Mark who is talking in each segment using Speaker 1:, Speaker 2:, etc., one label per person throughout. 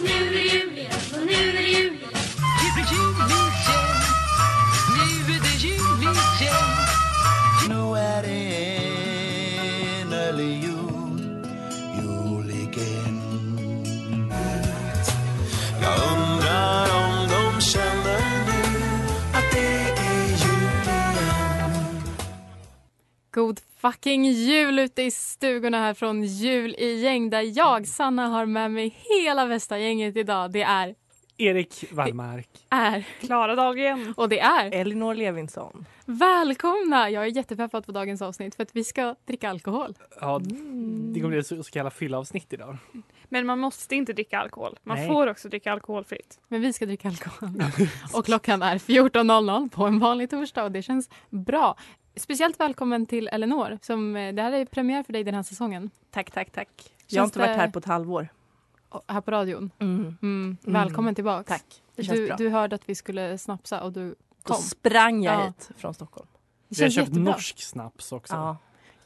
Speaker 1: Nu är det jul igen, och nu är det jul igen.
Speaker 2: God fucking jul ute i stugorna här från Jul i gäng där jag, Sanna, har med mig hela bästa gänget idag. Det är,
Speaker 3: Erik Wallmark.
Speaker 2: är
Speaker 4: Klara Dahlgren.
Speaker 2: och det är.
Speaker 5: Elinor Levinson.
Speaker 2: Välkomna! Jag är jättepeppad på dagens avsnitt för att vi ska dricka alkohol.
Speaker 3: Ja, det kommer bli ett så så kallat fyllavsnitt idag.
Speaker 4: Men man måste inte dricka alkohol. Man
Speaker 3: Nej.
Speaker 4: får också dricka alkoholfritt.
Speaker 2: Men vi ska dricka alkohol. Och klockan är 14.00 på en vanlig torsdag och det känns bra. Speciellt välkommen till Elinor. Som, eh, det här är premiär för dig den här säsongen.
Speaker 5: Tack, tack, tack. jag har inte
Speaker 2: det-
Speaker 5: varit här på ett halvår.
Speaker 2: Och- Här på radion. Mm. Välkommen tillbaka.
Speaker 5: Tack. Det känns
Speaker 2: Du,
Speaker 5: bra.
Speaker 2: du hörde att vi skulle snapsa och du
Speaker 5: Då
Speaker 2: kom.
Speaker 5: sprang jag
Speaker 2: Ja.
Speaker 5: hit från Stockholm.
Speaker 2: Det
Speaker 3: Vi har
Speaker 2: känns
Speaker 3: köpt
Speaker 2: jättebra.
Speaker 3: norsk snaps också.
Speaker 5: Ja.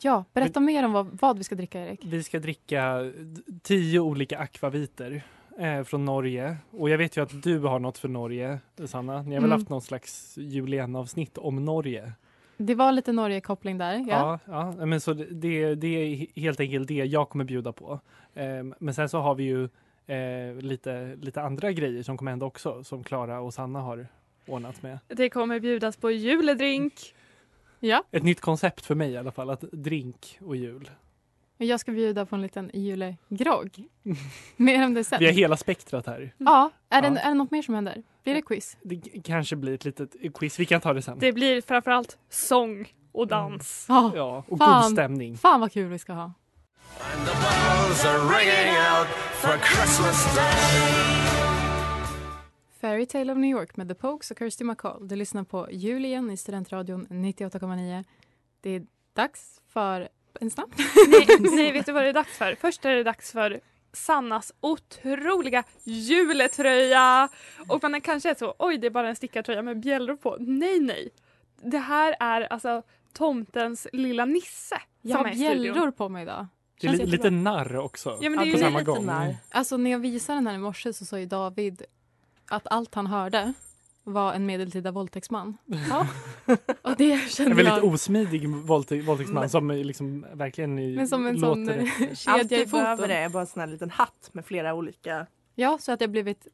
Speaker 2: Ja, berätta mer om vad, vad vi ska dricka, Erik.
Speaker 3: Vi ska dricka d- tio olika akvaviter eh, från Norge. Och jag vet ju att du har något för Norge, Sanna. Ni har väl
Speaker 2: Mm.
Speaker 3: haft någon slags julen-avsnitt om Norge?
Speaker 2: Det var lite Norge-koppling där. Ja.
Speaker 3: ja, ja, men så det- det, det är helt enkelt det jag kommer bjuda på. Eh, men sen så har vi ju eh, lite, lite andra grejer som kommer hända också, som Klara och Sanna har ordnat med.
Speaker 4: Det kommer bjudas på juledrink.
Speaker 2: Ja.
Speaker 3: Ett nytt koncept för mig i alla fall, att drink och jul.
Speaker 2: men Jag ska bjuda på en liten julegrogg. mer om det sen. Mm.
Speaker 3: Vi har hela spektrat här.
Speaker 2: Ja, är det,
Speaker 3: Ja.
Speaker 2: är det något mer som händer? Blir det quiz?
Speaker 3: Det k- kanske blir ett litet quiz. Vi kan ta det sen.
Speaker 4: Det blir framförallt sång och dans.
Speaker 2: Ja.
Speaker 3: Ja, och
Speaker 2: Ah, Fan.
Speaker 3: god stämning.
Speaker 2: Fan vad kul vi ska ha. Fairy Tale of New York med The Pokes och Kirsty MacColl. Du lyssnar på Jul igen i Studentradion 98,9. Det är dags för en snabb.
Speaker 4: Nej, nej, vet du vad det är dags för? Först är det dags för Sannas otroliga juletröja. Och man är kanske är så, oj det är bara en stickartröja med bjällror på. Nej, nej. Det här är alltså tomtens lilla nisse.
Speaker 2: Jag
Speaker 4: som
Speaker 2: har
Speaker 4: är i studion.
Speaker 2: bjällror på mig idag.
Speaker 3: Det är
Speaker 2: Känns
Speaker 3: li-
Speaker 2: jättebra.
Speaker 3: lite narr också.
Speaker 4: Ja, men
Speaker 3: på
Speaker 4: det är ju
Speaker 3: samma
Speaker 5: lite
Speaker 3: gång. Mm.
Speaker 5: narr.
Speaker 2: Alltså när jag visade den här i morse så sa ju David att allt han hörde var en medeltida våldtäktsman. Ja. Och det
Speaker 3: En
Speaker 2: kände
Speaker 3: väldigt
Speaker 2: jag.
Speaker 3: osmidig våldtä- våldtäktsman som är liksom verkligen i-
Speaker 2: Men som en sån eh,
Speaker 3: låter...
Speaker 5: Allt
Speaker 2: kedja i
Speaker 5: jag behöver
Speaker 2: foten.
Speaker 5: är bara en sån här liten hatt med flera olika...
Speaker 2: Ja, så att jag blivit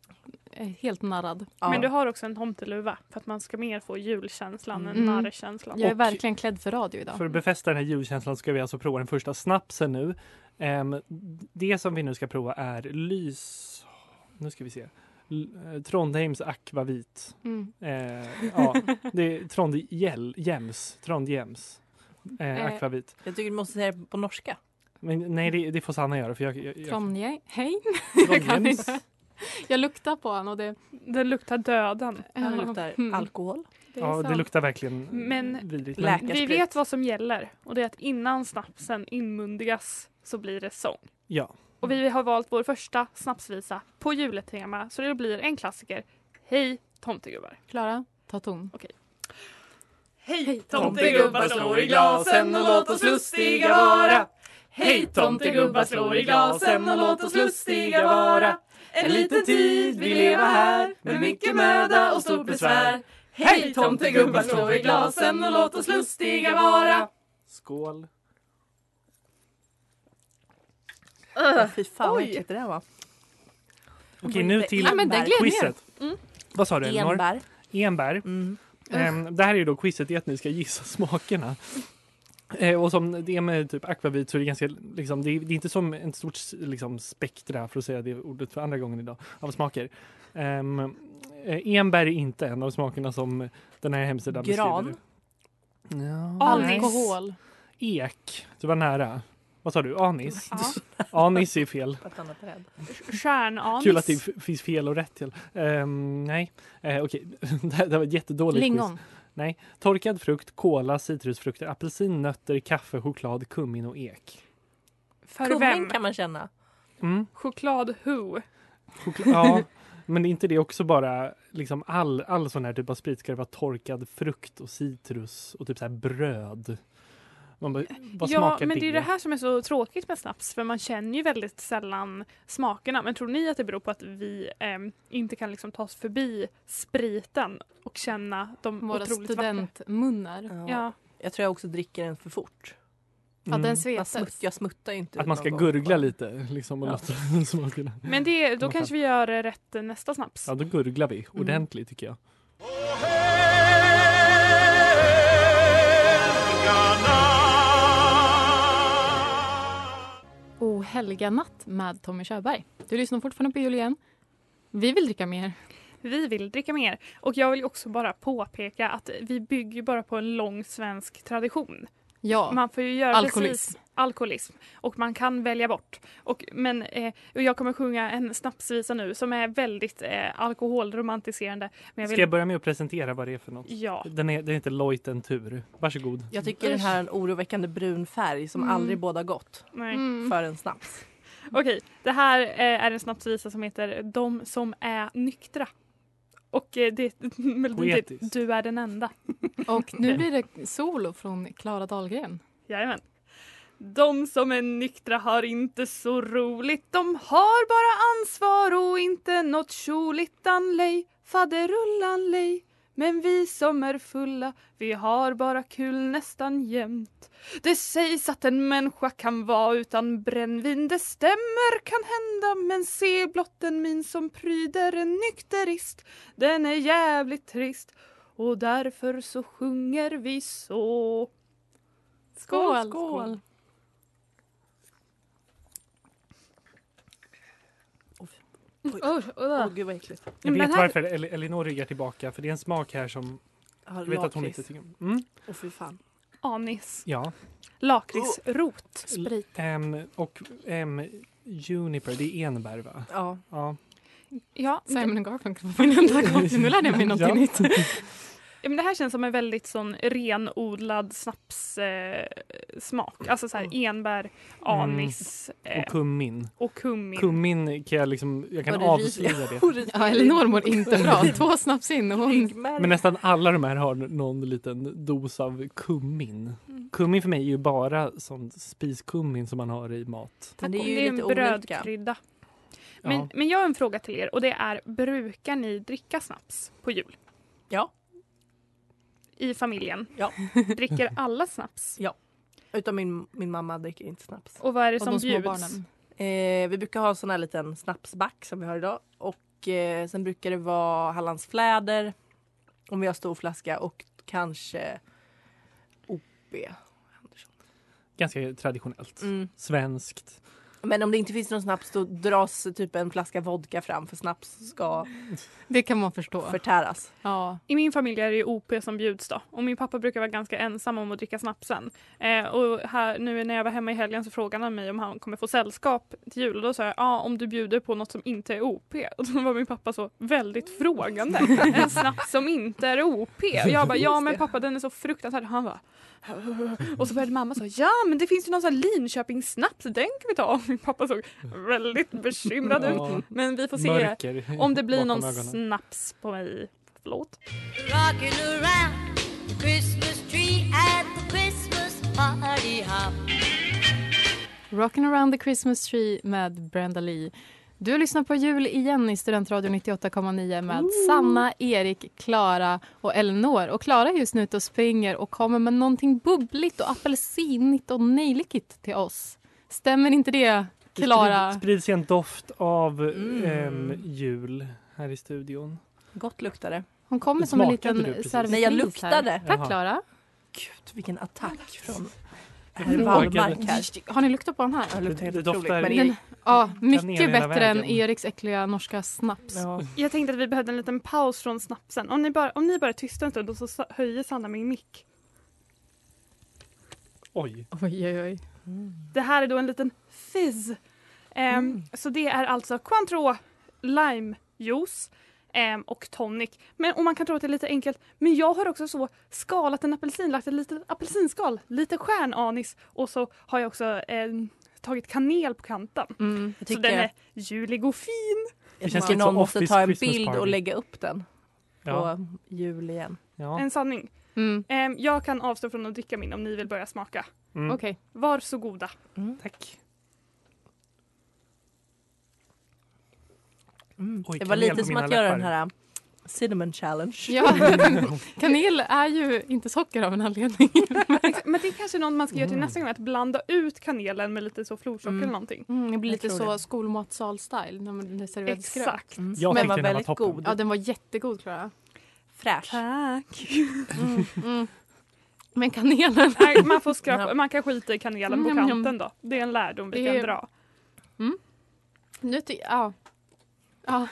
Speaker 2: eh, helt narrad.
Speaker 5: Ja.
Speaker 4: Men du har också en tomteluva för att man ska mer få julkänslan
Speaker 2: Mm.
Speaker 4: än narrkänslan.
Speaker 2: Jag är
Speaker 3: Och-
Speaker 2: verkligen klädd för radio idag.
Speaker 3: För att befästa den här julkänslan ska vi alltså prova den första snapsen nu. Ehm, det som vi nu ska prova är Lys... Nu ska vi se. L- eh, Trondheims akvavit.
Speaker 2: Mm.
Speaker 3: Eh, ja, det är Trondhjems. Trondhjems. Eh,
Speaker 2: Eh.
Speaker 3: akvavit.
Speaker 5: Jag tycker du måste säga det på norska.
Speaker 3: Men nej, det, det får Sanna göra för jag... jag,
Speaker 2: Eh,
Speaker 3: jag
Speaker 2: Trondheim. Hej. Jag kan
Speaker 3: Trondheims.
Speaker 2: inte. Jag luktar på honom och det...
Speaker 4: Den luktar döden.
Speaker 5: Den luktar
Speaker 2: Mm.
Speaker 5: alkohol.
Speaker 2: Det är
Speaker 3: Ja, det
Speaker 2: sant.
Speaker 3: luktar verkligen
Speaker 4: Men-
Speaker 3: vidrigt.
Speaker 5: Läkare.
Speaker 4: Vi
Speaker 5: Sprit.
Speaker 4: vet vad som gäller och det är att innan snapsen inmundigas så blir det sång.
Speaker 3: ja,
Speaker 4: Och vi har valt vår första snapsvisa på juletema så det blir en klassiker. Hej tomtegubbar.
Speaker 2: Klara, ta ton.
Speaker 4: Hej
Speaker 3: tomtegubbar, slå i glasen och låt oss lustiga vara. Hej, tomtegubbar, slå i glasen och låt oss lustiga vara. En liten tid vi leva här med mycket möda och stort besvär.
Speaker 5: Hej tomtegubbar, slå i glasen och låt oss lustiga vara.
Speaker 3: Skål.
Speaker 5: Äh, fy fan vad
Speaker 4: Oj.
Speaker 5: äckligt det där var.
Speaker 3: Okej, nu till
Speaker 2: Ja, men den gled ner.
Speaker 3: quizet. Vad sa du, Elinor?
Speaker 5: Enbär.
Speaker 3: Enbär.
Speaker 5: Mm.
Speaker 3: Ehm, det här är ju då quizet i att ni ska gissa smakerna. Eh, och som det är med typ akvavit så är det ganska, liksom, det, är, det är inte som en stort s- liksom, spektra, för att säga det ordet för andra gången idag, av smaker. Ehm, eh, enbär är inte en av smakerna som den här hemsidan
Speaker 5: Gran.
Speaker 3: beskriver. Ja.
Speaker 2: Alkohol.
Speaker 3: Ek, du var nära. Vad sa du? Anis?
Speaker 4: Ja.
Speaker 3: Anis är fel.
Speaker 5: På ett annat träd.
Speaker 4: Stjärnanis.
Speaker 3: Kul att det f- finns fel och rätt till. Ehm, nej, uh, okej. det, här, det här var ett jättedåligt quiz.
Speaker 2: Lingon.
Speaker 3: Torkad frukt, kola, citrusfrukter, apelsin, nötter, kaffe, choklad, kummin och ek.
Speaker 4: För
Speaker 5: Kummin
Speaker 4: vem?
Speaker 5: kan man känna.
Speaker 3: Mm,
Speaker 4: Choklad who?
Speaker 3: chokla- ja, men är inte det också bara liksom all, all sån här typ av sprit ska det vara torkad frukt och citrus och typ så här bröd. Man bara, vad
Speaker 4: Ja,
Speaker 3: smakar
Speaker 4: men det är det här som är så tråkigt med snaps för man känner ju väldigt sällan smakerna. Men tror ni att det beror på att vi ehm, inte kan liksom ta oss förbi spriten och känna de
Speaker 2: Våra
Speaker 4: otroligt Mm. vackra...
Speaker 2: studentmunnar.
Speaker 4: Ja.
Speaker 5: Jag tror jag också dricker den för fort.
Speaker 2: Att
Speaker 3: Mm.
Speaker 2: den
Speaker 5: Jag,
Speaker 2: svetas.
Speaker 5: smutt, jag smuttar ju inte
Speaker 3: Att
Speaker 5: ut
Speaker 3: man ska
Speaker 5: någon
Speaker 3: gurgla
Speaker 5: gång.
Speaker 3: lite liksom och
Speaker 5: Ja.
Speaker 3: låta smakerna.
Speaker 4: Men det, då
Speaker 3: Man
Speaker 4: kanske vi gör eh, rätt eh, nästa snaps.
Speaker 3: Ja, då gurglar vi
Speaker 2: Mm.
Speaker 3: ordentligt tycker jag.
Speaker 2: O helga natt med Tommy Körberg. Du lyssnar fortfarande på Julien. Vi vill dricka mer.
Speaker 4: Vi vill dricka mer. Och jag vill ju också bara påpeka att vi bygger ju bara på en lång svensk tradition.
Speaker 2: Ja,
Speaker 4: Man får ju göra precis
Speaker 2: alkoholism.
Speaker 4: alkoholism och man kan välja bort. Och, men, eh, och jag kommer sjunga en snapsvisa nu som är väldigt eh, alkoholromantiserande. Men jag vill,
Speaker 3: Ska jag börja med att presentera vad det är för något?
Speaker 4: Ja.
Speaker 3: Den är, den heter Lojten Tur. Varsågod.
Speaker 5: Jag tycker den här har en oroväckande brun färg som
Speaker 4: Mm.
Speaker 5: aldrig båda gott
Speaker 4: Nej.
Speaker 2: Mm.
Speaker 5: för en snaps.
Speaker 4: Okej, det här eh, är en snapsvisa som heter De som är nyktra. Och eh, det melodin till
Speaker 3: Poetiskt.
Speaker 4: Du är den enda.
Speaker 2: Och nu blir det solo från Klara
Speaker 4: Mm.
Speaker 2: Dahlgren.
Speaker 4: Jajamän. De som är nyktra har inte så roligt. De har bara ansvar och inte något tjolittanlej. Faderullanlej. Men vi som är fulla, vi har bara kul nästan jämt. Det sägs att en människa kan vara utan brännvin. Det stämmer kan hända, men se blott den min som pryder en nykterist. Den är jävligt trist och därför så sjunger vi så.
Speaker 2: Skål!
Speaker 4: skål.
Speaker 5: Åh gud vad äckligt.
Speaker 3: Jag
Speaker 4: Men
Speaker 3: vet
Speaker 4: här-
Speaker 3: varför El- Elinor ryggar tillbaka för det är en smak här som
Speaker 5: Jag har
Speaker 3: jag vet att hon
Speaker 5: lakrits.
Speaker 3: inte tycker om. Mm,
Speaker 5: Åh fy fan.
Speaker 4: Anis.
Speaker 3: ja.
Speaker 4: Lakritsrot.
Speaker 2: Sprit.
Speaker 3: Ehm, och ehm, Juniper, det är enbär va?
Speaker 5: Ja.
Speaker 3: Ja.
Speaker 4: Ja,
Speaker 2: Simon och Garfunkel var min enda kompis. Nu lärde jag mig någonting
Speaker 3: Ja.
Speaker 2: nytt.
Speaker 4: Ja, men det här känns som en väldigt sån renodlad snapssmak. Eh, smak. alltså så här
Speaker 5: Mm.
Speaker 4: enbär, anis
Speaker 5: Ehm.
Speaker 4: eh,
Speaker 3: Och kummin.
Speaker 4: och kummin.
Speaker 3: Kummin kan jag liksom, jag kan
Speaker 5: Var det ris-
Speaker 3: avslöja det.
Speaker 2: Ja, Elinor mår inte bra. Två snaps in och hon...
Speaker 3: Men nästan alla de här har någon liten dos av kummin.
Speaker 5: Mm.
Speaker 3: Kummin för mig är ju bara sån spiskummin som man har i mat.
Speaker 5: Men det är ju
Speaker 4: en
Speaker 5: lite olika.
Speaker 4: brödkrydda.
Speaker 3: Ja.
Speaker 4: Men, men jag har en fråga till er och det är brukar ni dricka snaps på jul?
Speaker 5: Ja.
Speaker 4: I familjen?
Speaker 5: Ja.
Speaker 4: Dricker alla snaps?
Speaker 5: Utan min, min mamma dricker inte snaps.
Speaker 4: Och vad är det
Speaker 2: Och
Speaker 4: som
Speaker 2: de små
Speaker 4: bjuds?
Speaker 2: barnen.
Speaker 5: Eh, vi brukar ha sån här liten snapsback som vi har idag. Och eh, sen brukar det vara Hallandsfläder om vi har stor flaska och kanske OP. Andersson.
Speaker 3: Ganska traditionellt.
Speaker 5: Mm.
Speaker 3: Svenskt.
Speaker 5: Men om det inte finns någon snaps då dras typ en flaska vodka fram för snaps ska
Speaker 2: Det kan man förstå.
Speaker 5: förtäras.
Speaker 2: Ja.
Speaker 4: I min familj är det ju OP som bjuds då. Och min pappa brukar vara ganska ensam om att dricka snapsen. Eh, och här, nu när jag var hemma i helgen så frågade han mig om han kommer få sällskap till jul. Och då sa jag, ja om du bjuder på något som inte är OP. Och då var min pappa så väldigt frågande. En snaps som inte är OP. Och jag bara, ja men pappa den är så fruktansvärd. Och han bara, och så började mamma så, ja men det finns ju någon sån här Linköpingssnaps, den kan vi ta. Och min pappa såg väldigt bekymrad ut.
Speaker 3: Ja,
Speaker 4: Men vi får se
Speaker 3: mörker
Speaker 4: om det blir
Speaker 3: bakom
Speaker 4: någon
Speaker 3: ögonen.
Speaker 4: snaps på mig. Förlåt.
Speaker 1: Rocking around the Christmas tree at the Christmas party hop.
Speaker 2: Rockin' around the Christmas tree med Brenda Lee. Du lyssnar på jul igen i Studentradion 98,9 med Sanna, Erik, Klara och Elinor. Och Klara är just nu ute och springer och kommer med någonting bubbligt och apelsinigt och nejlikigt till oss. Stämmer inte det,
Speaker 3: Det sprid-
Speaker 2: Klara?
Speaker 3: sprids en doft av
Speaker 5: Mm.
Speaker 3: ehm, jul här i studion.
Speaker 5: Gott luktar det.
Speaker 2: Hon kommer
Speaker 3: Det
Speaker 2: som en
Speaker 3: smakade
Speaker 2: liten
Speaker 3: du precis.
Speaker 2: servitris
Speaker 5: Nej, jag
Speaker 2: här.
Speaker 5: luktade.
Speaker 3: Jaha.
Speaker 2: Tack, Klara.
Speaker 5: Gud, vilken attack från
Speaker 3: Jag
Speaker 5: herr
Speaker 3: vågade.
Speaker 5: Wallmark här.
Speaker 2: Mm. Har ni luktat på den här?
Speaker 5: Ja, Det luktar helt
Speaker 3: Mm. Det doftar-
Speaker 5: otroligt. Men Erik,
Speaker 2: Ja,
Speaker 3: ner hela
Speaker 2: mycket bättre
Speaker 3: vägen.
Speaker 2: än Eriks äckliga norska snaps.
Speaker 5: ja.
Speaker 4: Jag tänkte att vi behövde en liten paus från snapsen. Om ni bara, om ni bara är tysta en stund och så sa- höjer Sanna min mick.
Speaker 3: Oj,
Speaker 2: Oj, oj, oj.
Speaker 4: Det här är då en liten fizz. Ehm, Så det är alltså Cointreau limejuice ehm, och tonic. Men, och man kan tro att det är lite enkelt. Men jag har också så skalat en apelsin, lagt ett litet apelsinskal, lite stjärnanis och så har jag också ehm, tagit kanel på kanten.
Speaker 2: Mm.
Speaker 5: jag
Speaker 4: så den
Speaker 5: tycker,
Speaker 4: är julig och fin.
Speaker 5: jag
Speaker 3: känns
Speaker 5: tycker
Speaker 3: lite som
Speaker 5: någon måste
Speaker 3: Office
Speaker 5: ta en
Speaker 3: Christmas
Speaker 5: bild
Speaker 3: party.
Speaker 5: och lägga upp den på
Speaker 3: ja,
Speaker 5: jul igen.
Speaker 3: ja.
Speaker 4: En sanning.
Speaker 2: Mm.
Speaker 4: Ehm, jag kan avstå från att dricka min om ni vill börja smaka.
Speaker 3: Mm.
Speaker 2: Okej.
Speaker 4: Varsågoda.
Speaker 3: Tack.
Speaker 5: Mm.
Speaker 3: Oj,
Speaker 5: det var
Speaker 3: kanel på
Speaker 5: lite som
Speaker 3: mina
Speaker 5: att göra
Speaker 3: läppar.
Speaker 5: den här um, cinnamon challenge.
Speaker 2: Ja, kanel är ju inte socker av en anledning.
Speaker 4: Men det är kanske något man ska göra till
Speaker 3: Mm.
Speaker 4: nästa gång, att blanda ut kanelen med lite så florsocker
Speaker 2: Mm.
Speaker 4: eller någonting.
Speaker 2: Mm, det blir
Speaker 5: Jag
Speaker 2: lite
Speaker 5: tror
Speaker 2: så
Speaker 5: det.
Speaker 2: skolmatsal-style när man det serveras gröt.
Speaker 4: Exakt.
Speaker 5: Mm.
Speaker 3: Jag
Speaker 5: Men
Speaker 3: tyckte
Speaker 5: var
Speaker 3: den här var
Speaker 5: väldigt
Speaker 3: toppen.
Speaker 5: god.
Speaker 2: Ja, den var jättekod Klara.
Speaker 5: Fräsch.
Speaker 4: Tack.
Speaker 2: Mm, mm. Men kanelen.
Speaker 4: Nej, man, får skrapa,
Speaker 5: Ja.
Speaker 4: man kan skita i kanelen på
Speaker 2: Mm, mm,
Speaker 4: kanten då. Det är en lärdom vi
Speaker 2: Det
Speaker 4: kan
Speaker 2: är-
Speaker 4: dra.
Speaker 2: Nu ty- ja. Ja.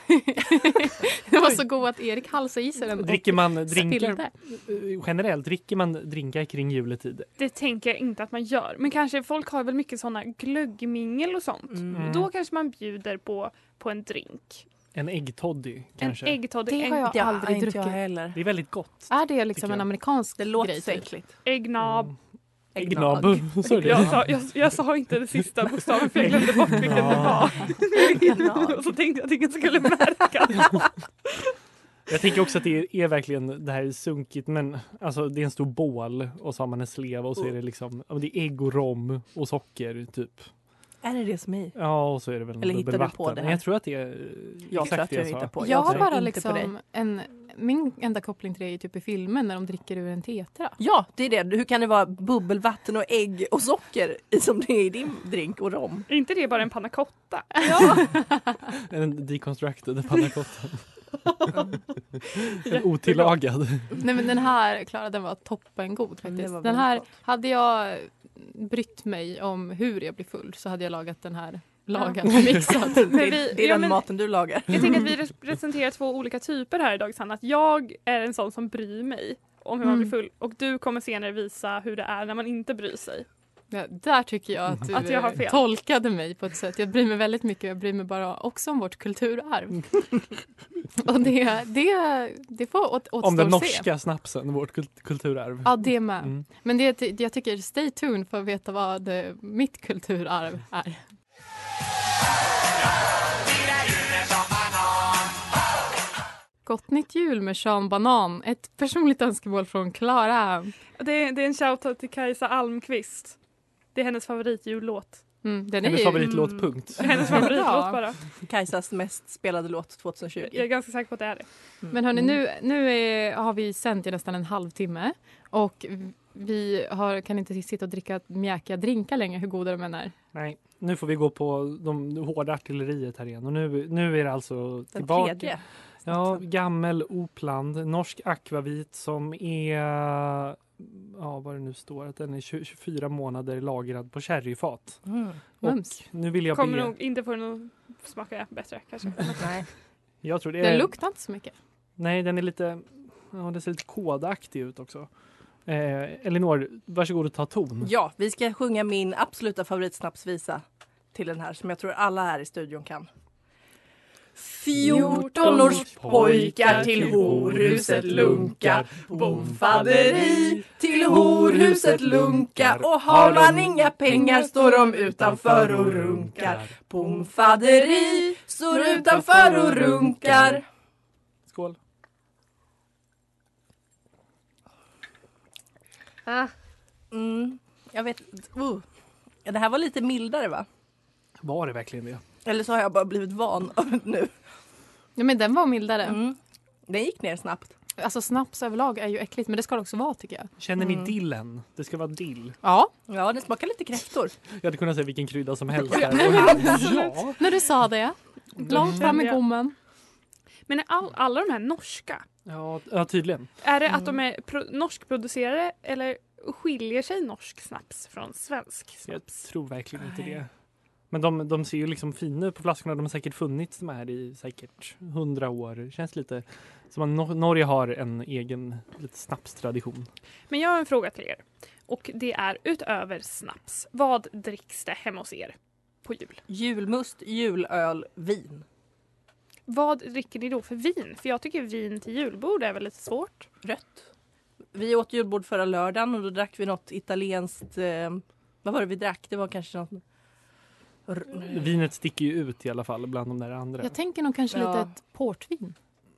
Speaker 2: det var så god att Erik halsade i sig den. och
Speaker 3: Dricker man drinkar,
Speaker 2: spillde.
Speaker 3: eh, generellt, dricker man drinkar kring juletid?
Speaker 4: Det tänker jag inte att man gör. Men kanske folk har väl mycket såna glöggmingel och sånt.
Speaker 3: Mm.
Speaker 4: Då kanske man bjuder på, på en drink.
Speaker 3: En äggtoddy kanske?
Speaker 4: En äggtoddy,
Speaker 2: Det
Speaker 4: en
Speaker 2: har jag
Speaker 5: Det har
Speaker 2: aldrig
Speaker 5: inte jag
Speaker 2: druckit.
Speaker 5: heller.
Speaker 3: Det är väldigt gott.
Speaker 2: Är det liksom
Speaker 3: Tycker
Speaker 2: en
Speaker 3: jag.
Speaker 2: amerikansk
Speaker 5: Det låter
Speaker 2: grej?
Speaker 5: så
Speaker 2: typ?
Speaker 5: äckligt.
Speaker 4: äggnab.
Speaker 3: Mm. Äggnab. Sa du det?
Speaker 4: Jag sa, jag, jag sa inte den sista bokstaven för jag glömde bort vilken
Speaker 3: Ja.
Speaker 4: det var. Och så tänkte jag att ingen skulle märka.
Speaker 3: Jag tänker också att det är, är verkligen, det här är sunkigt men alltså det är en stor bål och så har man en sleva och så är
Speaker 5: Oh.
Speaker 3: det liksom, ja, men det är ägg och rom och socker typ.
Speaker 5: Är det det som är i?
Speaker 3: Ja och så är det väl en
Speaker 5: Eller hittar du
Speaker 3: bubbelvatten.
Speaker 5: på det här?
Speaker 3: Men Jag tror att det är eh,
Speaker 5: Jag tror
Speaker 3: exakt
Speaker 5: att
Speaker 3: det
Speaker 5: du
Speaker 3: jag sa.
Speaker 5: hittar på.
Speaker 2: Jag har
Speaker 5: tror
Speaker 2: bara
Speaker 5: inte på dig.
Speaker 2: liksom en, min enda koppling till det är ju typ i filmen när de dricker ur en tetra.
Speaker 5: Ja, det är det. Hur kan det vara bubbelvatten och ägg och socker i som det är i din drink och rom?
Speaker 4: Är inte det bara en panna cotta?
Speaker 3: eh, En deconstructed pannacotta. en otillagad.
Speaker 2: Nej men den här Klara den var toppengod
Speaker 5: det
Speaker 2: faktiskt.
Speaker 5: var
Speaker 2: den
Speaker 5: väldigt
Speaker 2: här
Speaker 5: gott.
Speaker 2: hade jag brytt mig om hur jag blir full så hade jag lagat den här lagad och mixad.
Speaker 5: Det,
Speaker 4: Men vi-
Speaker 5: det är
Speaker 4: ja,
Speaker 5: den
Speaker 4: men-
Speaker 5: maten du lagar.
Speaker 4: Jag tänker att vi representerar två olika typer här idag Sanna. Att jag är en sån som bryr mig om hur man
Speaker 2: Mm.
Speaker 4: blir full och du kommer senare visa hur det är när man inte bryr sig.
Speaker 2: Ja, där tycker jag att du
Speaker 4: Att jag har fel.
Speaker 2: eh, tolkade mig på ett sätt. Jag bryr mig väldigt mycket. Jag bryr mig bara också om vårt kulturarv. och det, det, det får åt, återstå
Speaker 3: Om den
Speaker 2: att se.
Speaker 3: norska snapsen, vårt kult- kulturarv.
Speaker 2: Ja, det med.
Speaker 3: Mm.
Speaker 2: Men det, ty- jag tycker stay tuned för att veta vad eh, mitt kulturarv är. Gott nytt jul med Sean Banan. Ett personligt önskemål från Klara. Mm,
Speaker 4: Det, det är en shoutout till Kajsa Almqvist. Det är hennes favoritjullåt.
Speaker 2: Mm, den är
Speaker 3: Hennes
Speaker 2: ju...
Speaker 3: favoritlåt, punkt.
Speaker 4: Hennes
Speaker 2: Ja.
Speaker 4: favoritlåt bara.
Speaker 5: Kajsas mest spelade låt Mm.
Speaker 4: Jag är
Speaker 5: 2020.
Speaker 4: ganska säker på att det är det.
Speaker 2: Men hörni,
Speaker 3: Mm.
Speaker 2: nu, nu är, har vi sänt i nästan en halvtimme och vi har, kan inte sitta och dricka mjäkiga drinkar längre, hur goda de än är.
Speaker 3: Nej, nu får vi gå på de hårda artilleriet här igen. Och nu, nu är det alltså
Speaker 5: Den
Speaker 3: tillbaka.
Speaker 5: tredje.
Speaker 3: Ja, gammel Opland, norsk akvavit som är, ja vad det nu står, att den är 20 24 månader lagrad på sherryfat.
Speaker 5: Mm.
Speaker 2: Mums.
Speaker 3: Nu vill jag
Speaker 4: Kommer
Speaker 3: be,
Speaker 4: nog inte få den att smaka bättre kanske.
Speaker 5: Nej.
Speaker 3: jag tror det är,
Speaker 2: Den luktar inte så mycket.
Speaker 3: nej den är lite, ja den ser lite kodaktig ut också. Eh, Elinor, varsågod och ta ton.
Speaker 5: Ja, vi ska sjunga min absoluta favoritsnapsvisa till den här som jag tror alla här i studion kan. Fjortonårspojkar till horhuset lunka Bonfaderi till horhuset lunkar och har man inga pengar står de utanför och runkar Bonfaderi står utanför och runkar
Speaker 3: Skål. Ah.
Speaker 5: mm, Jag vet, uh. Ja, det här var lite mildare va?
Speaker 3: Var det verkligen det?
Speaker 5: Eller så har jag bara blivit van av det nu.
Speaker 2: Ja, men den var mildare.
Speaker 5: Mm. Den gick ner snabbt.
Speaker 2: Alltså snaps överlag är ju äckligt men det ska det också vara tycker jag.
Speaker 3: Känner ni
Speaker 5: Mm.
Speaker 3: dillen? Det ska vara dill.
Speaker 2: Ja.
Speaker 5: Ja, den smakar lite kräftor.
Speaker 3: Jag hade kunnat säga vilken krydda som helst. Här.
Speaker 2: Nej, men
Speaker 3: ja.
Speaker 2: När du sa
Speaker 3: Mm.
Speaker 2: det. Långt fram i gommen.
Speaker 4: Men är all, alla de här norska,
Speaker 3: Ja, ja, tydligen.
Speaker 4: är det att de
Speaker 3: Mm.
Speaker 4: är pro- norskproducerade eller skiljer sig norsk snaps från svensk
Speaker 3: Jag
Speaker 4: snaps?
Speaker 3: tror verkligen inte det. Men de, de ser ju liksom fina ut på flaskorna. De har säkert funnits de här i säkert hundra år. Det känns lite som att Nor- Norge har en egen lite snapstradition.
Speaker 4: Men jag har en fråga till er. Och det är utöver snaps, vad dricks det hemma hos er på jul?
Speaker 5: Julmust, julöl, vin.
Speaker 4: Vad dricker ni då för vin? För jag tycker vin till julbord är väl lite svårt.
Speaker 5: Rött. Vi åt julbord förra lördagen och då drack vi något italienskt. Eh, vad var det vi drack? Det var kanske något... r-
Speaker 3: Vinet sticker ju ut i alla fall bland de där andra.
Speaker 2: Jag tänker nog kanske
Speaker 5: Ja.
Speaker 2: lite ett portvin.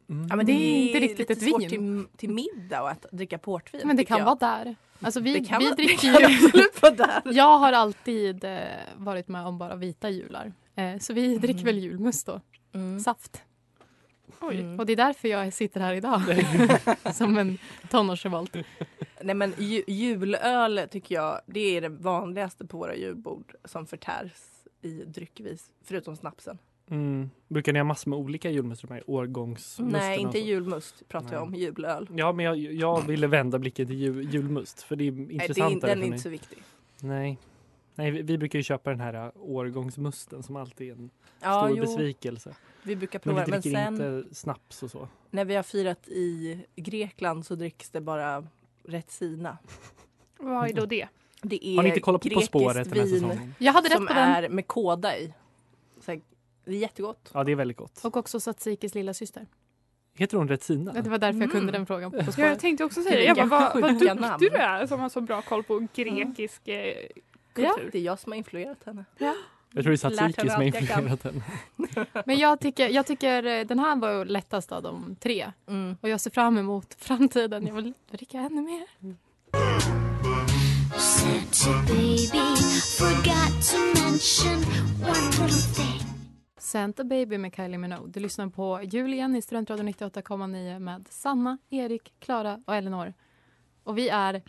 Speaker 3: Mm.
Speaker 5: Ja, men
Speaker 2: Det är inte riktigt
Speaker 5: lite
Speaker 2: ett
Speaker 5: svårt
Speaker 2: vin.
Speaker 5: Till, till middag att dricka portvin.
Speaker 2: Men det
Speaker 5: tycker
Speaker 2: kan
Speaker 5: jag.
Speaker 2: vara där. Alltså vi,
Speaker 5: Det kan,
Speaker 2: vi
Speaker 5: vara-
Speaker 2: dricker
Speaker 5: det kan
Speaker 2: ju.
Speaker 5: absolut vara där.
Speaker 2: Jag har alltid eh, varit med om bara vita jular. Eh, så vi dricker väl julmust då.
Speaker 5: Mm.
Speaker 2: Saft.
Speaker 4: Oj.
Speaker 5: Mm.
Speaker 2: Och det är därför jag sitter här idag. Som en tonårsrevolt.
Speaker 5: Nej men ju, julöl tycker jag det är det vanligaste på våra julbord som förtärs i dryckvis. Förutom snapsen.
Speaker 3: Mm. Brukar ni ha massor med olika julmust? De här årgångsmusterna?
Speaker 5: Nej
Speaker 3: och
Speaker 5: inte
Speaker 3: så?
Speaker 5: julmust pratar jag
Speaker 3: Nej.
Speaker 5: om, julöl.
Speaker 3: Ja, men jag, jag ville vända blicken till jul, julmust för det är
Speaker 5: Nej, det är, in-
Speaker 3: intressantare
Speaker 5: den
Speaker 3: för
Speaker 5: är inte
Speaker 3: mig.
Speaker 5: så viktig.
Speaker 3: Nej. Nej, vi, vi brukar ju köpa den här ä, årgångsmusten som alltid är
Speaker 5: Mm.
Speaker 3: en
Speaker 5: Ja,
Speaker 3: stor
Speaker 5: jo,
Speaker 3: besvikelse.
Speaker 5: vi brukar
Speaker 3: Men vi
Speaker 5: prova men, men
Speaker 3: dricker
Speaker 5: sen
Speaker 3: inte Eh, snaps och så.
Speaker 5: när vi har firat i Grekland så dricks det bara Retsina.
Speaker 4: Vad är då det?
Speaker 5: Det är
Speaker 3: Har ni inte kollat på På
Speaker 5: grekiskt
Speaker 3: spåret den här
Speaker 5: vin
Speaker 3: säsongen?
Speaker 2: Jag hade
Speaker 5: som
Speaker 2: rätt på den.
Speaker 5: är med kåda i. Så här, det är jättegott.
Speaker 3: Ja, det är väldigt gott.
Speaker 2: Och också Satsikis lilla syster.
Speaker 3: Heter hon Retsina?
Speaker 2: Det var därför jag kunde
Speaker 5: Mm.
Speaker 2: den frågan på På
Speaker 4: Ja, jag
Speaker 2: spåret.
Speaker 4: tänkte också säga det. Jag bara, vad, vad
Speaker 5: Sjuka
Speaker 4: duktig
Speaker 5: namn.
Speaker 4: du är som har så bra koll på grekisk eh,
Speaker 5: Ja.
Speaker 4: kultur.
Speaker 5: Det är jag som har influerat henne.
Speaker 3: Jag tror det är
Speaker 5: Lärt
Speaker 3: Tsatsiki
Speaker 5: henne
Speaker 3: som har
Speaker 5: allt jag kan.
Speaker 3: influerat den.
Speaker 2: Men jag tycker, jag tycker eh, den här var ju lättast av de tre.
Speaker 5: Mm.
Speaker 2: Och jag ser fram emot framtiden. Jag vill dricka ännu mer.
Speaker 1: Santa baby forgot to mention one little thing.
Speaker 2: Santa Baby med Kylie Minogue. Du lyssnar på Julien i Studentradion 98,9 med Sanna, Erik, Klara och Elinor. Och vi är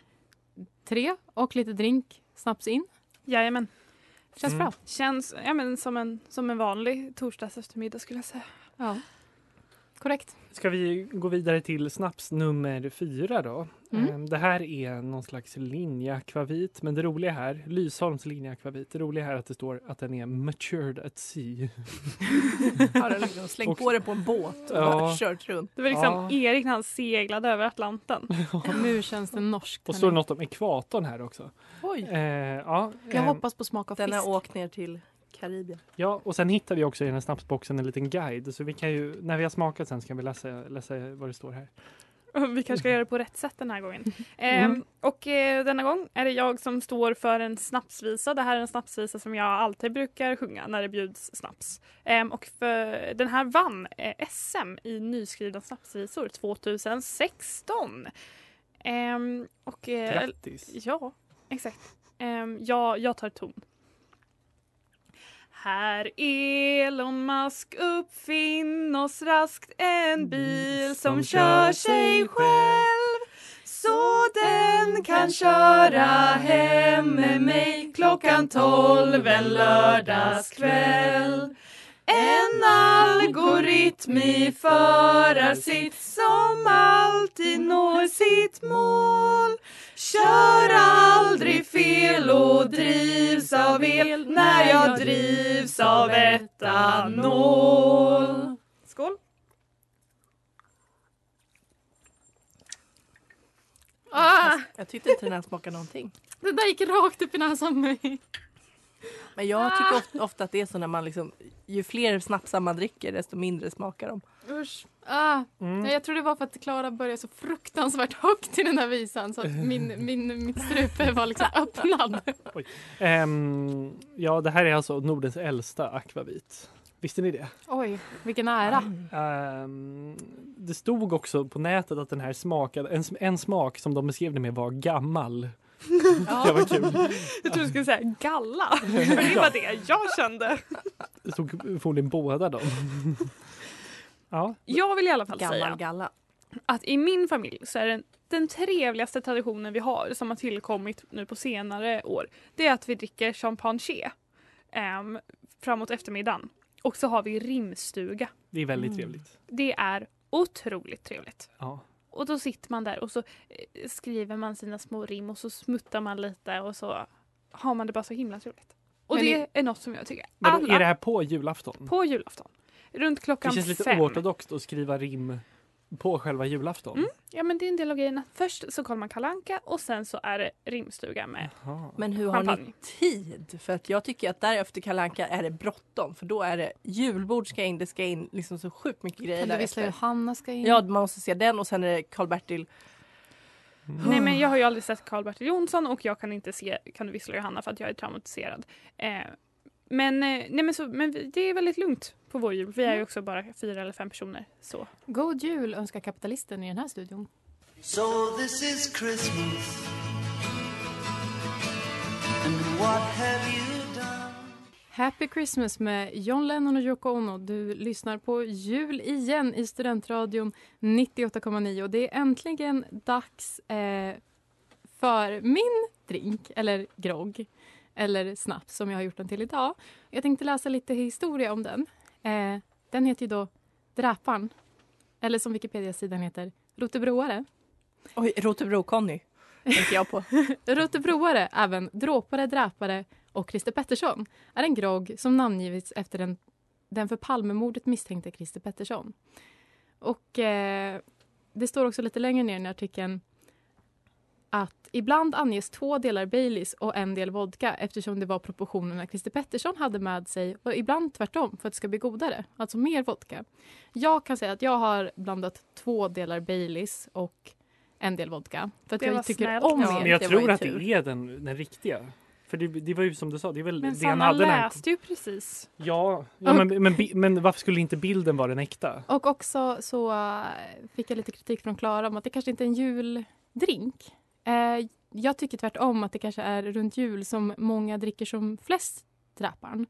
Speaker 2: tre och lite drink snaps in.
Speaker 4: Jajamän.
Speaker 2: Känns
Speaker 3: Mm.
Speaker 2: bra.
Speaker 4: Känns ja, men, som, en, som en vanlig torsdags eftermiddag skulle jag säga.
Speaker 2: Ja. Korrekt.
Speaker 3: Ska vi gå vidare till snaps nummer fyra då?
Speaker 2: Mm.
Speaker 3: Ehm, Det här är någon slags linjeakvavit, men det roliga här, Lysholms linjeakvavit, det roliga här är att det står att den är matured at
Speaker 5: Mm.
Speaker 3: sea.
Speaker 5: Har den liksom slängt
Speaker 3: Och-
Speaker 5: på den på en båt och
Speaker 3: Ja.
Speaker 5: bara kört runt.
Speaker 4: Det var liksom
Speaker 3: Ja.
Speaker 4: Erik när han seglade över Atlanten.
Speaker 2: Nu känns det norskt.
Speaker 3: Och så står det
Speaker 2: hörni.
Speaker 3: något om ekvatorn här också.
Speaker 5: Oj!
Speaker 3: Eh, ja,
Speaker 2: Jag
Speaker 3: ehm,
Speaker 2: hoppas på smak av
Speaker 5: Den
Speaker 2: fisk.
Speaker 5: har åkt ner till Karibien.
Speaker 3: Ja, och sen hittar vi också i den här snapsboxen en liten guide. Så vi kan ju, när vi har smakat sen kan vi läsa, läsa vad det står här.
Speaker 4: Vi kanske ska göra det på rätt sätt den här gången. Ehm, och eh, denna gång är det jag som står för en snapsvisa. Det här är en snapsvisa som jag alltid brukar sjunga när det bjuds snaps. Ehm, och för, den här vann eh, SM i nyskrivna snapsvisor 2016. Ehm, och, eh,
Speaker 3: Grattis!
Speaker 4: Ja, exakt. Ehm, jag, jag tar ton. Här Elon Musk uppfinn oss raskt en bil som kör sig själv så den kan köra hem med mig klockan tolv en lördagskväll. En algoritm i förarsitt som alltid når sitt mål Kör aldrig fel och drivs av el när jag drivs av etanol. Skål! Ah,
Speaker 5: Jag tyckte inte den här smakade någonting.
Speaker 2: Det där gick rakt upp i näsan på mig.
Speaker 5: Men jag tycker ofta, ofta att det är så när man liksom, ju fler snapsar man dricker desto mindre smakar de.
Speaker 2: Usch. Ah, nej, jag tror det var för att Klara började så fruktansvärt högt i den här visan så att min, min, mitt strupe var liksom öppnad.
Speaker 3: Ehm, ja, det här är alltså Nordens äldsta akvavit. Visste ni det?
Speaker 2: Oj, vilken ära.
Speaker 3: Ehm, det stod också på nätet att den här smakade, en, en smak som de beskrev det med var gammal. Det var kul.
Speaker 4: Jag trodde du skulle säga galla. För det var det jag kände.
Speaker 3: Det tog förmodligen båda då. Ja,
Speaker 4: Jag vill i alla fall säga
Speaker 5: Gammal galla.
Speaker 4: att i min familj så är den, den trevligaste traditionen vi har som har tillkommit nu på senare år det är att vi dricker champagne um, framåt eftermiddagen. Och så har vi rimstuga.
Speaker 3: det är väldigt
Speaker 4: Mm.
Speaker 3: trevligt.
Speaker 4: Det är otroligt trevligt.
Speaker 3: Ja.
Speaker 4: Och då sitter man där och så eh, skriver man sina små rim och så smuttar man lite och så har man det bara så himla trevligt. Och
Speaker 2: Men
Speaker 4: det är något som jag tycker
Speaker 3: Men då,
Speaker 4: alla
Speaker 3: är det här på julafton?
Speaker 4: på julafton. Runt
Speaker 3: Det
Speaker 4: klockan
Speaker 3: känns lite
Speaker 4: fem.
Speaker 3: oortodoxt att skriva rim på själva julafton.
Speaker 4: Mm. Ja men det är en del av grejerna. Först så kollar man Kalle Anka och sen så är det rimstuga med
Speaker 3: Jaha.
Speaker 5: Men hur har ni
Speaker 4: champagne.
Speaker 5: tid? För att jag tycker att därefter Kalle Anka är det bråttom. För då är det julbord ska in, det ska in liksom så sjukt mycket grejer
Speaker 2: Eller vissla
Speaker 5: därefter.
Speaker 2: Johanna ska in.
Speaker 5: Ja, man måste se den och sen är det Karl-Bertil.
Speaker 3: Mm.
Speaker 4: Nej men jag har ju aldrig sett Karl-Bertil Jonsson och jag kan inte se Kan du vissla Johanna för att jag är traumatiserad. Eh, men eh, nej men, så, men vi- det är väldigt lugnt på vår jul. Vi
Speaker 3: Mm.
Speaker 4: är ju också bara fyra eller fem personer. Så.
Speaker 2: God jul önskar kapitalisten i den här studion.
Speaker 6: So this is Christmas. And what have you done?
Speaker 2: Happy Christmas med John Lennon och Yoko Ono. Du lyssnar på jul igen i Studentradion 98,9. Och Det är äntligen dags eh, för min drink, eller grogg, eller snaps som jag har gjort den till idag. Jag tänkte läsa lite historia om den. Eh, den heter ju då Dräparen, eller som Wikipedia-sidan heter, Rotebroare.
Speaker 5: Oj, Rotebro-Conny tänker jag på.
Speaker 2: Rotebroare, även Dråpare, Dräpare och Christer Pettersson är en grogg som namngivits efter den, den för Palmemordet misstänkte Christer Pettersson. Och eh, det står också lite längre ner i artikeln att ibland anges två delar Baileys och en del vodka eftersom det var proportionerna Christer Pettersson hade med sig och ibland tvärtom för att det ska bli godare, alltså mer vodka. Jag kan säga att jag har blandat två delar Baileys och en del vodka för att
Speaker 4: Det var
Speaker 2: jag tycker
Speaker 4: snällt.
Speaker 2: om
Speaker 4: Ja,
Speaker 2: mer.
Speaker 3: Men jag
Speaker 5: det var
Speaker 3: tror
Speaker 5: ju
Speaker 3: att
Speaker 5: tur.
Speaker 3: det är den, den riktiga. För det, det var ju som du sa, det är väl
Speaker 4: Men
Speaker 3: det han
Speaker 4: Sanna
Speaker 3: hade. när han kom.
Speaker 4: läste ju precis.
Speaker 3: Ja, ja men, men, bi- men varför skulle inte bilden vara den äkta?
Speaker 2: Och också så eh, fick jag lite kritik från Klara om att det kanske inte är en juldrink. Eh, jag tycker tvärtom att det kanske är runt jul som många dricker som flest Dräparen.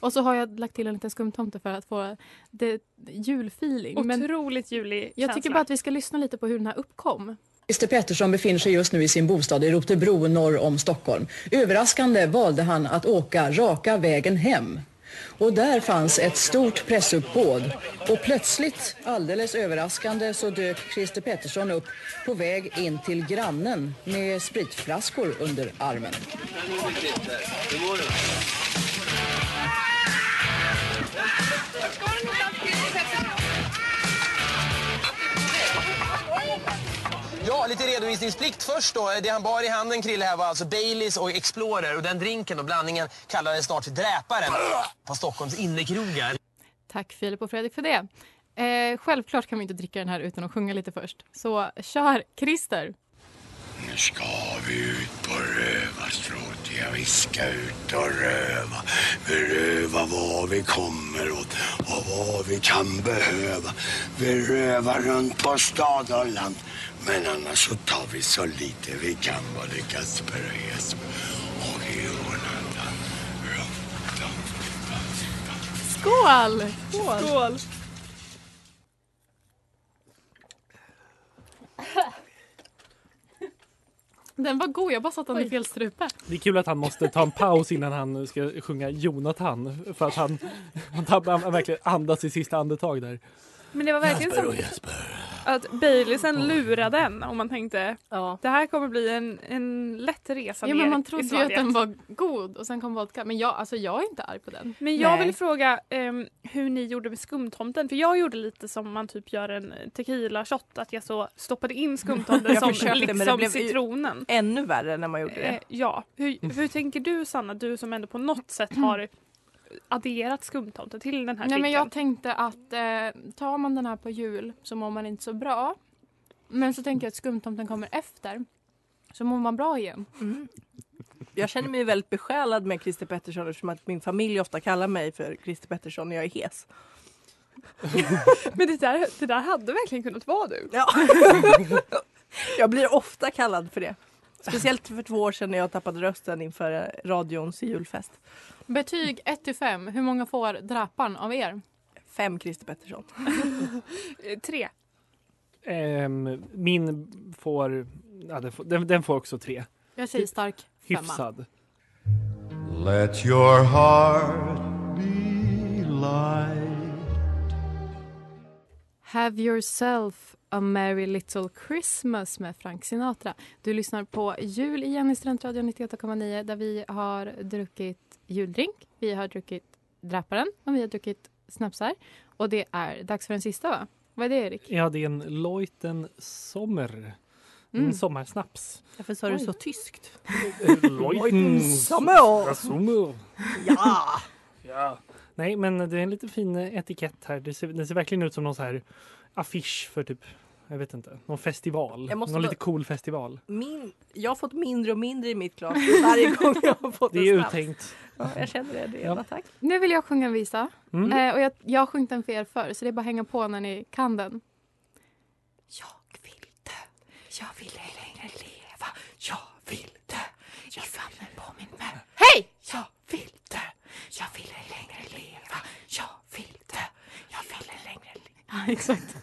Speaker 2: Och så har jag lagt till en liten skumtomte för att få det, julfeeling. Men
Speaker 4: Otroligt julig
Speaker 2: jag tycker
Speaker 4: känsla.
Speaker 2: bara att vi ska lyssna lite på hur den här uppkom.
Speaker 6: Christer Pettersson befinner sig just nu i sin bostad i Rotebro norr om Stockholm. Överraskande valde han att åka raka vägen hem. Och där fanns ett stort pressuppbåd. Och plötsligt, alldeles överraskande, så dök Christer Pettersson upp på väg in till grannen med spritflaskor under armen.
Speaker 1: Ja, lite redovisningsplikt först då. Det han bar i handen, Krille, här var alltså Baileys och Explorer. Och den drinken och blandningen kallades snart Dräparen på Stockholms innekrogar.
Speaker 2: Tack Filip och Fredrik för det. Eh, självklart kan vi inte dricka den här utan att sjunga lite först. Så kör Christer!
Speaker 6: Nu ska vi ut på rövarstråt, ja vi ska ut och röva. Beröva vad vi kommer åt och vad vi kan behöva. Vi rövar runt på stad och land. Men annars så tar vi så lite vi kan vad det Kasper och Jesper och Jonathan.
Speaker 2: Skål!
Speaker 4: Skål!
Speaker 2: Den var god, jag bara satte den i fel strupe.
Speaker 3: Det är kul att han måste ta en paus innan han ska sjunga Jonathan. För att han, han, tappar- han verkligen andas i sista andetag där.
Speaker 4: Men det var verkligen som att Baileysen lurade en och man tänkte
Speaker 5: Ja.
Speaker 4: det här kommer bli en, en lätt resa
Speaker 2: Ja,
Speaker 4: ner
Speaker 2: men man
Speaker 4: i
Speaker 2: trodde ju att
Speaker 4: Svalget."
Speaker 2: den var god och sen kom vodka. Men jag, alltså, jag är inte arg på den.
Speaker 4: Men jag
Speaker 5: Nej.
Speaker 4: vill fråga ehm, hur ni gjorde med skumtomten. För jag gjorde lite som man typ gör en tequila shot. Att jag så stoppade in skumtomten
Speaker 5: Jag
Speaker 4: som
Speaker 5: försökte, men det
Speaker 4: liksom
Speaker 5: blev ju-
Speaker 4: citronen.
Speaker 5: Ännu värre när man gjorde det.
Speaker 4: Eh, ja. Hur, hur tänker du Sanna? Du som ändå på något sätt har adderat skumtomten till den här
Speaker 2: Nej, men jag
Speaker 4: drinken.
Speaker 2: tänkte att eh, tar man den här på jul så mår man inte så bra. Men så tänker jag att skumtomten kommer efter. Så mår man bra igen.
Speaker 5: Mm. Jag känner mig väldigt besjälad med Christer Pettersson eftersom att min familj ofta kallar mig för Christer Pettersson när jag är hes.
Speaker 4: Men det där, det där hade verkligen kunnat vara du.
Speaker 5: Ja. jag blir ofta kallad för det. Speciellt för två år sedan när jag tappade rösten inför radions julfest.
Speaker 2: Betyg 1-5. Hur många får drapan av er?
Speaker 5: Fem Christer Pettersson.
Speaker 4: Eh, tre.
Speaker 3: Ehm, min får, ja, den, får den, den får också tre.
Speaker 2: Jag säger stark femma.
Speaker 3: Hyfsad.
Speaker 7: Let your heart be light.
Speaker 2: Have yourself a merry little Christmas med Frank Sinatra. Du lyssnar på Jul igen i Studentradion 98,9 där vi har druckit juldrink, vi har druckit Dräparen och vi har druckit snapsar. Och det är dags för den sista, va? Vad är det, Erik?
Speaker 3: Ja, det är en Leuten Sommer. En
Speaker 2: Mm.
Speaker 3: sommarsnaps.
Speaker 5: Varför sa du
Speaker 3: Oj.
Speaker 5: så tyskt?
Speaker 3: Leuten
Speaker 5: Sommer.
Speaker 3: Sommer.
Speaker 5: Ja!
Speaker 3: ja! Nej, men det är en lite fin etikett här. Det ser, det ser verkligen ut som någon så här affisch för typ, jag vet inte, någon festival.
Speaker 5: Jag måste
Speaker 3: någon
Speaker 5: bara-
Speaker 3: lite cool festival.
Speaker 5: Min, jag har fått mindre och mindre i mitt glas varje gång jag har fått
Speaker 3: Det är
Speaker 5: en snaps.
Speaker 3: uttänkt.
Speaker 5: Ja, jag känner det redan.
Speaker 3: Ja.
Speaker 5: Tack.
Speaker 2: Nu vill jag sjunga en visa.
Speaker 3: Mm.
Speaker 2: Eh, och jag, jag har sjungit den för er förr, så det är bara att hänga på när ni kan den. Jag vill dö, jag vill ej längre leva Jag vill dö i famnen på min mö Hej! Jag vill dö, jag vill ej längre leva Jag vill dö, jag vill ej längre leva Ja, exakt.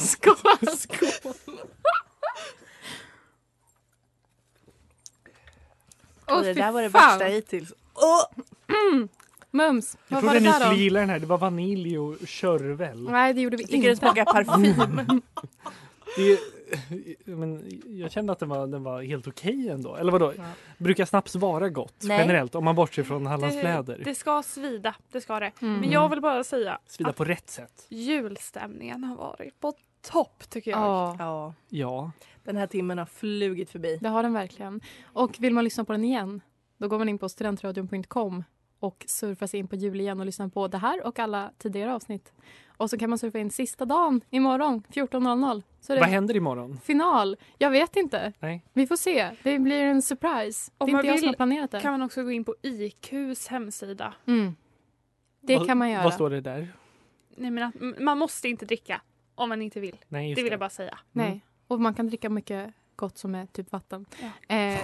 Speaker 2: Skål! Skål!
Speaker 4: Åh,
Speaker 5: det
Speaker 4: fy
Speaker 5: där var det
Speaker 4: fan.
Speaker 5: värsta hittills. Åh!
Speaker 2: Mums,
Speaker 3: Jag
Speaker 2: vad var
Speaker 3: trodde
Speaker 2: det
Speaker 3: ni
Speaker 2: där
Speaker 3: skulle
Speaker 2: om?
Speaker 3: gilla den här. Det var vanilj och körvel.
Speaker 2: Nej, det gjorde vi
Speaker 5: Jag
Speaker 2: inte.
Speaker 5: tycker den smakar parfym.
Speaker 3: Det är, men jag kände att den var, den var helt okej ändå. Eller vadå?
Speaker 4: Ja.
Speaker 3: Brukar snaps vara gott
Speaker 4: Nej.
Speaker 3: generellt om man bortser från
Speaker 4: Det,
Speaker 3: Hallandsfläder?
Speaker 4: det ska svida, det ska det.
Speaker 2: Mm.
Speaker 4: Men jag vill bara säga
Speaker 3: Svida
Speaker 4: att
Speaker 3: på rätt sätt.
Speaker 4: julstämningen har varit på topp tycker jag.
Speaker 2: Ja.
Speaker 5: Ja,
Speaker 3: Ja.
Speaker 5: den här timmen har flugit förbi.
Speaker 2: Det har den verkligen. Och vill man lyssna på den igen, då går man in på studentradion.com och surfar sig in på jul igen och lyssnar på det här och alla tidigare avsnitt. Och så kan man surfa in sista dagen imorgon 14.00. Så är det
Speaker 3: Vad händer imorgon?
Speaker 2: Final. Jag vet inte.
Speaker 3: Nej.
Speaker 2: Vi får se. Det blir en surprise.
Speaker 4: Om
Speaker 2: det är
Speaker 4: man
Speaker 2: inte jag som
Speaker 4: vill
Speaker 2: har planerat det.
Speaker 4: Kan man också gå in på IQs hemsida.
Speaker 2: Mm. Det
Speaker 3: Vad-
Speaker 2: kan man göra.
Speaker 3: Vad står det där?
Speaker 4: Nej, men att, m- man måste inte dricka om man inte vill.
Speaker 3: Nej, just
Speaker 4: det vill jag bara säga.
Speaker 3: Mm.
Speaker 2: Nej. Och man kan dricka mycket gott som är typ vatten.
Speaker 4: Ja.
Speaker 2: Eh,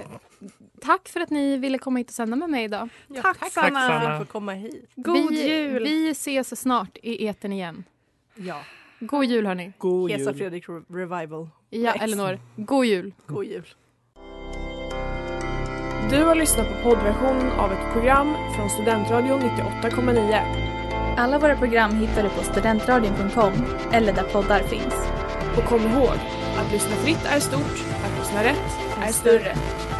Speaker 2: tack för att ni ville komma hit och sända med mig idag.
Speaker 4: tack, Sanna.
Speaker 3: Sanna.
Speaker 5: För att få komma hit.
Speaker 4: God
Speaker 2: vi,
Speaker 4: jul!
Speaker 2: Vi ses snart i etern igen.
Speaker 5: Ja.
Speaker 2: God jul hörni.
Speaker 3: God
Speaker 5: Hesa
Speaker 3: jul.
Speaker 5: Fredrik Re- Revival.
Speaker 2: Ja,
Speaker 5: Yes.
Speaker 2: Elinor. God jul.
Speaker 5: God jul.
Speaker 8: Du har lyssnat på poddversionen av ett program från Studentradion 98,9.
Speaker 9: Alla våra program hittar du på studentradion.com eller där poddar finns.
Speaker 8: Och kom ihåg, att lyssna fritt är stort, att lyssna rätt är större.